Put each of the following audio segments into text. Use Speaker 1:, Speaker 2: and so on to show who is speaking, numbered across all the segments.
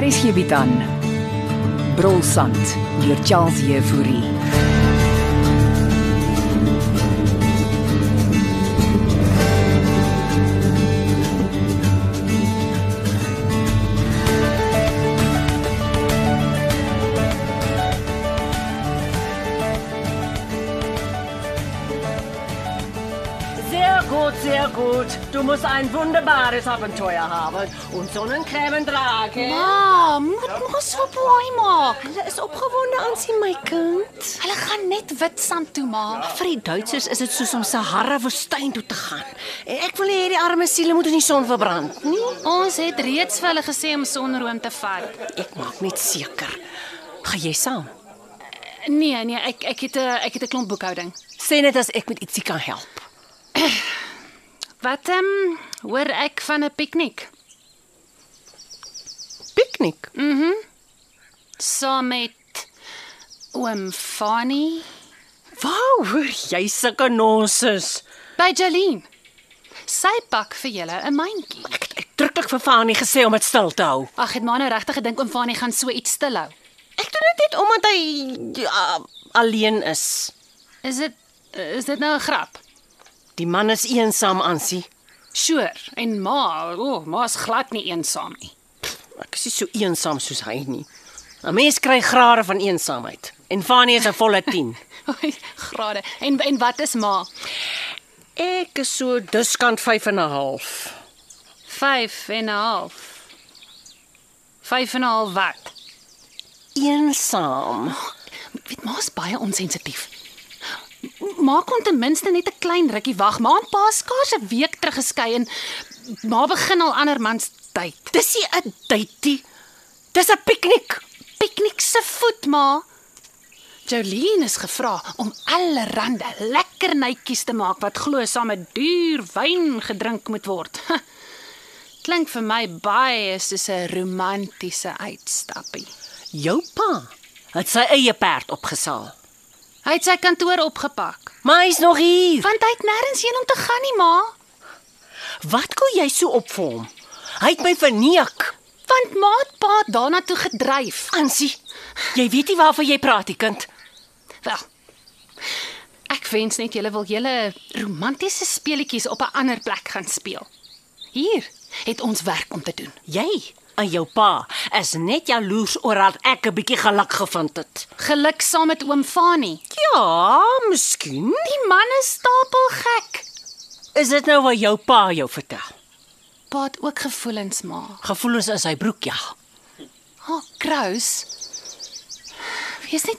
Speaker 1: Hier is hierby dan. Brolsand deur Charles Euphorie.
Speaker 2: Sehr gut, sehr gut. Du musst ein wunderbares Abenteuer haben und Sonnencreme dragen.
Speaker 3: Ah,
Speaker 4: Ma, moet mos so blaai maak.
Speaker 3: Hulle is opgewonde aan sien my kind.
Speaker 4: Hulle gaan net wit sand toe maak.
Speaker 3: Vir die Duitsers is dit soos om Sahara woestyn toe te gaan. En ek wil nie hê die arme siele moet in die son verbrand nie.
Speaker 4: Ons het reeds vir hulle gesê om sonroom te vat.
Speaker 3: Ek maak net seker. Gaan jy saam?
Speaker 4: Nee, nee, ek ek het 'n ek het 'n klomp boekhouding.
Speaker 3: Sê net as ek met ietsie kan help.
Speaker 4: Wat ehm um, hoor ek van 'n piknik
Speaker 3: Piknik.
Speaker 4: saam met oom Fani
Speaker 3: Wou, hoor jy sulke nonsens.
Speaker 4: by Jolene. Sy pak vir julle 'n mandjie.
Speaker 3: Ek het uitdruklik vir Fanie gesê om dit stil te hou.
Speaker 4: Ag, het maar nou regtig gedink oom Fani gaan so iets stilhou.
Speaker 3: Ek doen dit net omdat hy ja, alleen is.
Speaker 4: Is dit is dit nou 'n grap?
Speaker 3: Die man is eensaam aan sy.
Speaker 4: Sure. En ma, o, oh, ma's glad nie eensaam nie.
Speaker 3: Ek is nie so eensaam soos hy nie. 'n Mens kry grade van eensaamheid en Fanie is 'n volle 10.
Speaker 4: Oei, Grade. En en wat is ma?
Speaker 3: Ek is so diskant 5 en 'n half.
Speaker 4: 5 en 'n half. 5 en 'n half wat?
Speaker 3: Eensaam.
Speaker 4: Weet ma's baie onsensitief. M- Ma kon ten minste net 'n klein rukkie wag. Ma en pa is skaars 'n week terug geskei en ma begin al ander mans tyd.
Speaker 3: Dis nie 'n dateie. Dis 'n piknik.
Speaker 4: Piknik se voet, ma. Jolene is gevra om allerhande lekker netjies te maak wat glo saam met duur wyn gedrink moet word. Klink vir my baie soos 'n romantiese uitstappie.
Speaker 3: Jou pa het sy eie perd opgesaal.
Speaker 4: Hy het sy kantoor opgepak.
Speaker 3: Maar hy's nog hier.
Speaker 4: Want hy het nêrens heen om te gaan nie, ma.
Speaker 3: Wat kon jy so op vir hom? Hy het my verneek.
Speaker 4: Want ma het pa daarna toe gedryf.
Speaker 3: Ansie, jy weet nie waarvan jy praat, die kind.
Speaker 4: Wel. Ek wens net julle wil julle romantiese speletjies op 'n ander plek gaan speel. Hier het ons werk om te doen.
Speaker 3: Jy en jou pa is net jaloers oor dat ek 'n bietjie geluk gevind het.
Speaker 4: Geluk saam met oom Fani.
Speaker 3: Ja, miskien.
Speaker 4: Die man is stapelgek.
Speaker 3: Is dit nou wat jou pa jou vertel?
Speaker 4: Pa het ook gevoelens, ma.
Speaker 3: Gevoelens in sy broek, ja.
Speaker 4: Ha, oh, kraus. Wees net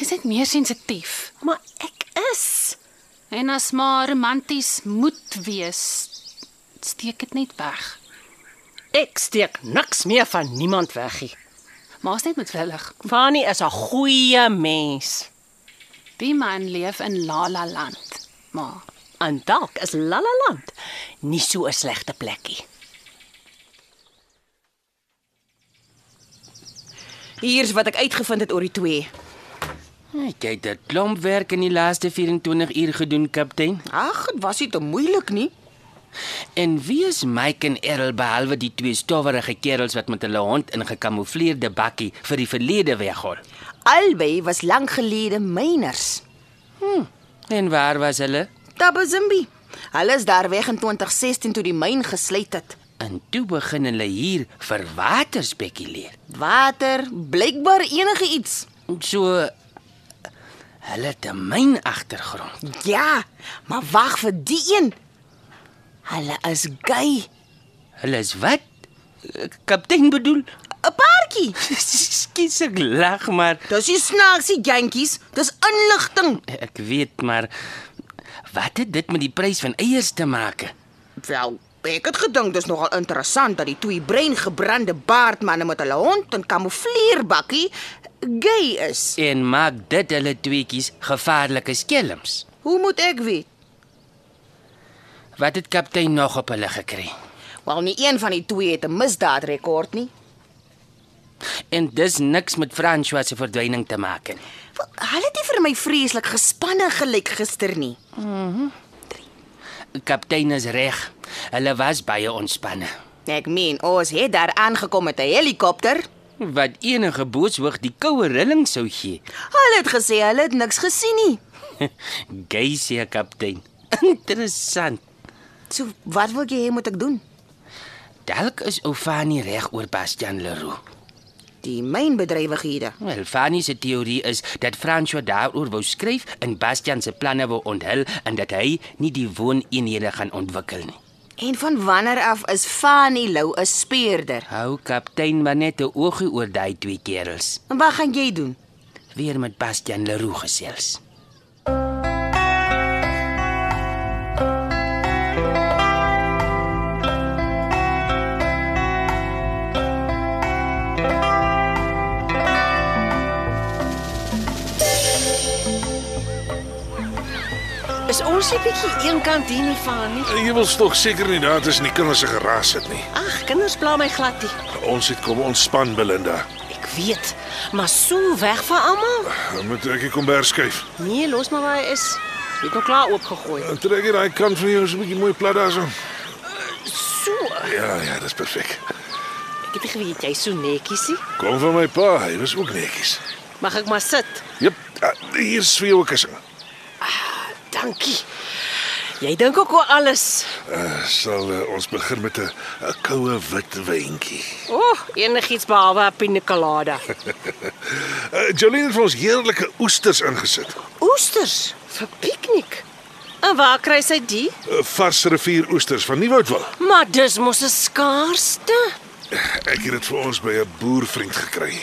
Speaker 4: Is dit meer sensitief?
Speaker 3: Maar ek is.
Speaker 4: En as maar romanties moet wees, steek dit net weg.
Speaker 3: Ek steek niks meer van niemand weg nie.
Speaker 4: Ma's net moedwillig.
Speaker 3: Fani is 'n goeie mens.
Speaker 4: Die man leef in La La Land. Maar
Speaker 3: En dalk is Lalaland nie so 'n slegte plekkie.
Speaker 5: Hier's wat ek uitgevind het oor die twee.
Speaker 6: Ek het 'n klomp werk in die laaste 24 uur gedoen, kaptein.
Speaker 5: Ag, dit was nie te moeilik nie.
Speaker 6: En wie is Mike en Errol behalwe die twee stowwerige kerels wat met hulle hond in gekamoufleerde bakkie vir die verlede weggol?
Speaker 5: Albei was lank gelede myners.
Speaker 6: En waar was hulle?
Speaker 5: Tabazimbi. Hulle is daar weg in 2016 toe die myn gesluit het.
Speaker 6: En toe begin hulle hier vir water spekuleer.
Speaker 5: Water, blykbaar enige iets.
Speaker 6: So hulle het 'n myn agtergrond.
Speaker 5: Ja, maar wag vir die een. Hulle is gay.
Speaker 6: Hulle is wat? Kaptein bedoel?
Speaker 5: 'n Paartjie.
Speaker 6: Skus ek lag maar.
Speaker 5: Dis nie snaaksie jantjies, dis inligting.
Speaker 6: Ek weet maar wat het dit met die prys van eiers te maak?
Speaker 5: Wel, ek het gedink dis nogal interessant dat die twee brein gebrande baardmanne met hulle hond en kamoufleerbakkie gay is.
Speaker 6: en maak dit hulle tweetjies gevaarlike skelms.
Speaker 5: Hoe moet ek weet?
Speaker 6: Wat het kaptein nog op hulle gekry?
Speaker 7: Wel nie een van die twee het 'n misdaadrekord nie.
Speaker 3: En dis niks met François se verdwyning te maak nie.
Speaker 7: Wel, Hulle het nie vir my vreeslik gespanne gelyk gister nie.
Speaker 3: Kaptein is reg. Hulle was baie ontspanne.
Speaker 7: Ek meen, ons het daar aangekom met 'n helikopter.
Speaker 3: Wat enige booshoog die koue rilling sou gee.
Speaker 7: Hulle het gesê hulle het niks gesien nie.
Speaker 3: Gay se kaptein. Interessant.
Speaker 7: So, wat wil jy hê moet ek doen?
Speaker 3: Dalk is Ofani reg oor Bastian Leroux.
Speaker 7: Die mynbedrywighede.
Speaker 3: Wel, Fanny se teorie is dat François daaroor wou skryf en Bastian se planne wou onthul en dat hy nie die wooneenhede gaan ontwikkel nie.
Speaker 7: En van wanneer af is Fanny Lou 'n speurder?
Speaker 3: Hou kaptein maar net 'n oogie oor daai twee kerels.
Speaker 7: En wat gaan jy doen?
Speaker 3: Weer met Bastian Leroux gesels.
Speaker 5: Is ons nie bietjie eenkant hier nie van nie?
Speaker 8: Jy wil tog seker nie daar tussen die kinders se geraas het nie.
Speaker 5: Ag, kinders pla my glad nie.
Speaker 8: Ons het kom ontspan Belinda.
Speaker 5: Ek weet, maar so weg van almal.
Speaker 8: Dan moet ek die kombers skuif.
Speaker 5: Nee, los maar waar hy is. Jy het nou klaar oopgegooi.
Speaker 8: En Trek hier daai kant van jou so 'n bietjie mooi plat daarso.
Speaker 5: So,
Speaker 8: Ja, ja, dis perfek.
Speaker 5: ek het nie geweet jy's so netjies nie.
Speaker 8: Kom van my pa, hy was ook netjies.
Speaker 5: Mag ek maar sit?
Speaker 8: Jep, ah, hier is vir jou 'n kussing.
Speaker 5: Dankie. Jy dink ook oor alles.
Speaker 8: Uh, sal uh, ons begin met 'n 'n koue wit wyntjie.
Speaker 5: O, oh, enigiets behalwe 'n pina colada.
Speaker 8: Uh, Jolene het vir ons heerlike oesters ingesit.
Speaker 5: Oesters vir piknik. En waar kry sy die?
Speaker 8: Uh, vars rivier oesters van Nieuwoudtwil.
Speaker 5: Maar dis mos 'n skaarste.
Speaker 8: Ek het dit vir ons by 'n boervriend gekry.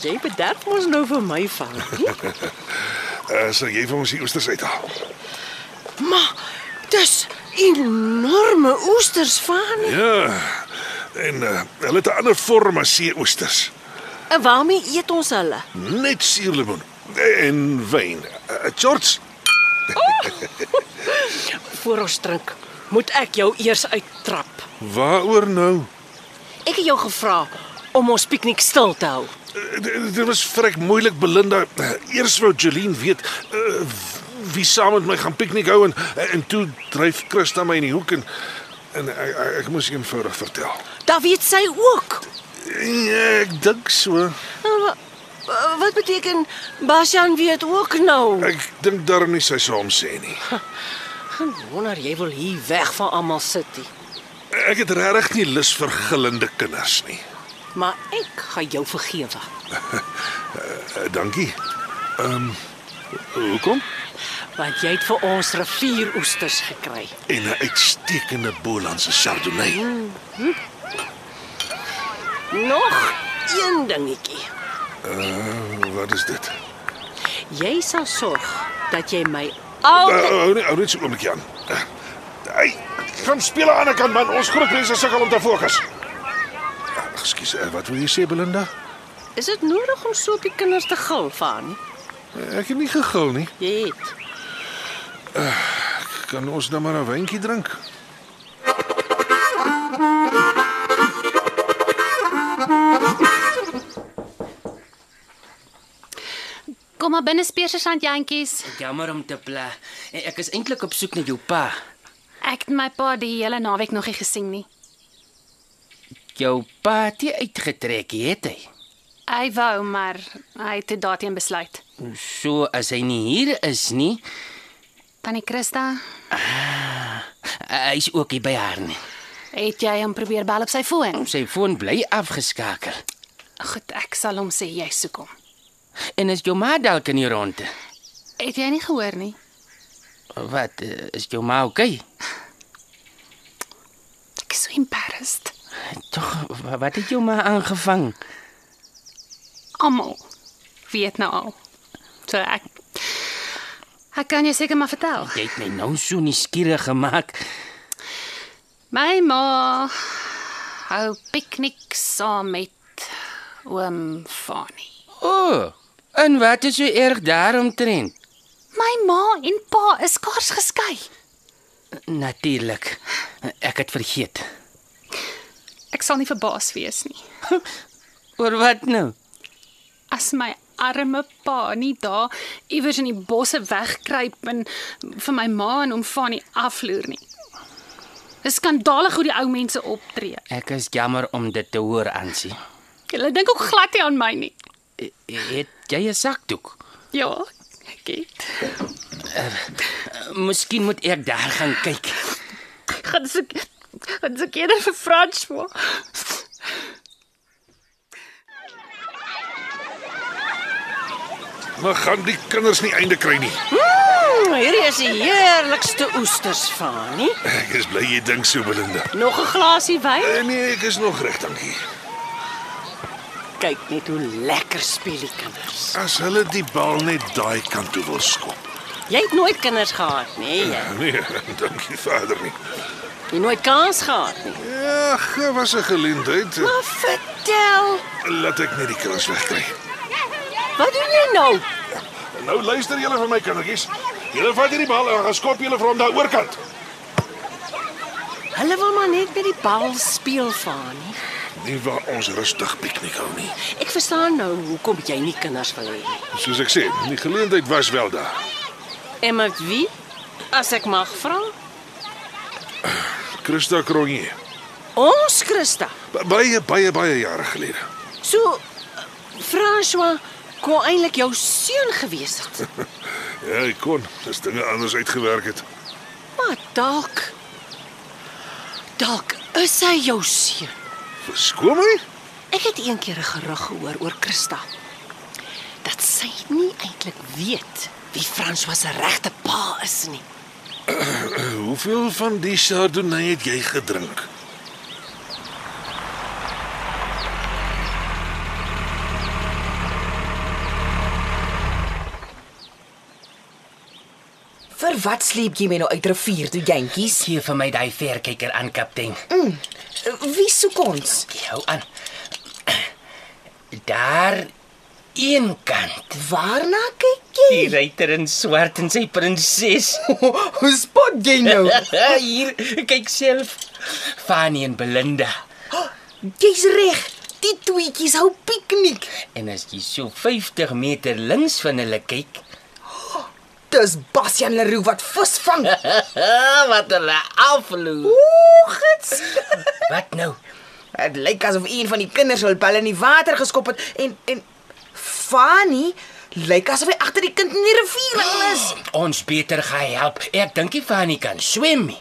Speaker 5: Jy bederf mos nou vir my van.
Speaker 8: Uh, sal jy vir ons die oesters uithaal?
Speaker 5: maar dis enorme oesters van.
Speaker 8: Ja. En uh, hulle het 'n ander vorm as seeoesters.
Speaker 5: En waarmee eet ons hulle?
Speaker 8: Net suurlemoen en wyn. Uh, George,
Speaker 5: Voor ons drink, moet ek jou eers uittrap.
Speaker 8: waaroor nou?
Speaker 5: Ek het jou gevra om ons piknik stil te hou.
Speaker 8: Uh, d- Dit was vrek moeilik Belinda. Uh, Eers wou Jolene weet uh, w- wie saam met my gaan piknik hou en eh, en toe dryf Christa my in die hoek en en ek, ek- ek moes eenvoudig vertel.
Speaker 5: Daar weet sy ook.
Speaker 8: Ja, ek dink so.
Speaker 5: En Eh, wa- wa- Wat beteken Bashan weet ook nou?
Speaker 8: Ek dink daarom nie sy saam sê nie.
Speaker 5: Geen wonder jy wil hier weg van almal sit nie.
Speaker 8: Ek het regtig nie lus vir gillende kinders nie.
Speaker 5: Maar ek gaan jou vergewe.
Speaker 8: Uh, dankie. Ehm um, hoekom?
Speaker 5: Want jy het vir ons rivieroesters gekry.
Speaker 8: En 'n uitstekende Bolandse Chardonnay.
Speaker 5: Nog een dingetjie.
Speaker 8: Uh, wat is dit?
Speaker 5: Jy sal sorg dat jy my
Speaker 8: Uh,
Speaker 5: altyd
Speaker 8: hou net hou net so 'n oombliekie aan. Uh, hey, kom speel aan die ander kant man. Ons groep mense sukkel om te fokus. Uh, Ekskuus, uh, wat wil jy sê Belinda?
Speaker 5: Is dit nodig om so op die kinders te gil van?
Speaker 8: Uh, ek het nie gegil nie.
Speaker 5: Jy het.
Speaker 8: Kan ons nou maar 'n wynkie drink?
Speaker 4: Kom maar binne speersesand jantjies.
Speaker 3: Jammer om te pla. Ek is eintlik op soek na jou pa.
Speaker 4: Ek het my pa die hele naweek nog nie gesien nie.
Speaker 3: Jou pa het nie uitgetrek nie, het hy?
Speaker 4: Hy wou, maar hy het toe daarteen besluit.
Speaker 3: So as hy nie hier is nie,
Speaker 4: Tannie Christa,
Speaker 3: hy's ook nie by haar nie.
Speaker 4: het jy hom probeer bel op sy foon?
Speaker 3: Sy foon bly afgeskakel.
Speaker 4: Goed, ek sal hom sê jy soek hom.
Speaker 3: En is jou ma dalk in die ronde?
Speaker 4: Het jy nie gehoor nie?
Speaker 3: Wat eh, is jou ma okay?
Speaker 4: Ek is so embarrassed.
Speaker 3: Tog wa- wat het jou ma aangevang?
Speaker 4: Almal weet nou al. So ek Ek kan jou seker maar vertel.
Speaker 3: Jy het my nou so nuuskierig gemaak.
Speaker 4: My ma hou piknik saam met oom Fani.
Speaker 3: O, oh, en wat is so erg daaromtrent?
Speaker 4: My ma en pa is skaars geskei.
Speaker 3: Natuurlik. Ek het vergeet.
Speaker 4: Ek sal nie verbaas wees nie.
Speaker 3: Oor wat nou?
Speaker 4: As my arme pa nie daar iewers in die bosse wegkruip en vir my ma en oom Fanie afloer nie. Dis skandalig hoe die ou mense optree.
Speaker 3: Ek is jammer om dit te hoor, Ansie.
Speaker 4: Hulle dink ook glad nie aan my nie.
Speaker 3: E- Het jy 'n sakdoek?
Speaker 4: Ja, ek het.
Speaker 3: Miskien moet ek daar gaan kyk.
Speaker 4: Gaan soek gaan soek eerder vir François.
Speaker 8: Maar gaan die kinders nie einde kry nie.
Speaker 5: Mm, hierdie is die heerlikste oesters, Fanie.
Speaker 8: Ek is bly jy dink so, Belinda.
Speaker 5: Nog 'n glasie wyn?
Speaker 8: Eh, Nee, ek is nog reg, dankie.
Speaker 5: Kyk net hoe lekker speel die kinders.
Speaker 8: As hulle die bal net daai kant toe wil skop.
Speaker 5: Jy het nooit kinders gehad nie, jy.
Speaker 8: Nee, dankie vader nie.
Speaker 5: Jy het nooit kans gehad nie.
Speaker 8: Ja, ge- was 'n geleentheid.
Speaker 5: Maar vertel,
Speaker 8: Laat ek net die kinders wegkry.
Speaker 5: wat doen jy nou?
Speaker 8: Nou luister julle vir my kindertjies. Julle vat hierdie bal en gaan skop julle van daai oorkant.
Speaker 5: Hulle wil maar net met die bal speel, Fanie.
Speaker 8: Nie waar ons rustig piknik hou nie.
Speaker 5: Ek verstaan nou hoekom jy nie kinders wil hê nie.
Speaker 8: Soos ek sê, die geleentheid was wel daar.
Speaker 5: En met wie? As ek mag vra?
Speaker 8: Christa Kronje.
Speaker 5: Ons Christa.
Speaker 8: Ba- Baie baie baie jare gelede.
Speaker 5: So eh, François kon eintlik jou seun gewees het.
Speaker 8: Ja, ek kon. Dis dinge anders uitgewerk het.
Speaker 5: Maar dalk dalk is hy jou seun.
Speaker 8: Verskoon my?
Speaker 5: Ek het een keer 'n gerug gehoor oor Christa. Dat sy nie eintlik weet wie François se regte pa is nie.
Speaker 8: Hoeveel van die chardonnay het jy gedrink?
Speaker 7: Vir wat sleep jy my nou uit rivier toe, jentjies?
Speaker 3: Gee vir my daai verkyker aan, kaptein.
Speaker 7: Wie soek ons?
Speaker 3: Ek hou aan. Daar een kant.
Speaker 7: Waarna kyk jy?
Speaker 3: Die ruiter in swart en sy prinses.
Speaker 7: Hoe spot jy nou?
Speaker 3: Hier, kyk self. Fanny en Belinda.
Speaker 7: Jy's reg. Die tweetjies hou piknik.
Speaker 3: En as jy so 50 meter links van hulle kyk,
Speaker 7: Dis Bastian Leroux wat visvang.
Speaker 3: wat hulle afloop.
Speaker 7: Ooh, gits.
Speaker 3: Wat nou?
Speaker 7: Dit lyk asof een van die kinders hul bal in die water geskop het en en Fanny lyk asof hy agter die kind in die rivier hang is.
Speaker 3: Ons beter gaan help. Ek dink nie Fanny kan swem nie.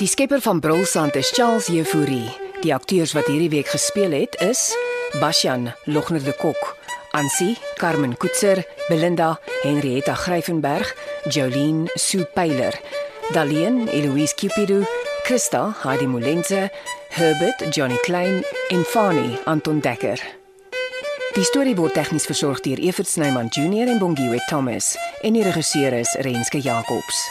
Speaker 1: Die skepper van Brulsand is Charles Jefouri. Die akteurs wat hierdie week gespeel het is Bashan Logner de Kok, Ansie Carmen Koetser, Belinda Henrietta Gryvenberg, Jolene Sue Pyler, Daleen Eloise Cupido, Christa Heidi Molense, Herbert Johnny Klein en Fani Anton Dekker. Die storie word tegnies versorg deur Evert Snyman Junior en Bongwe Thomas en die regisseur is Renske Jacobs.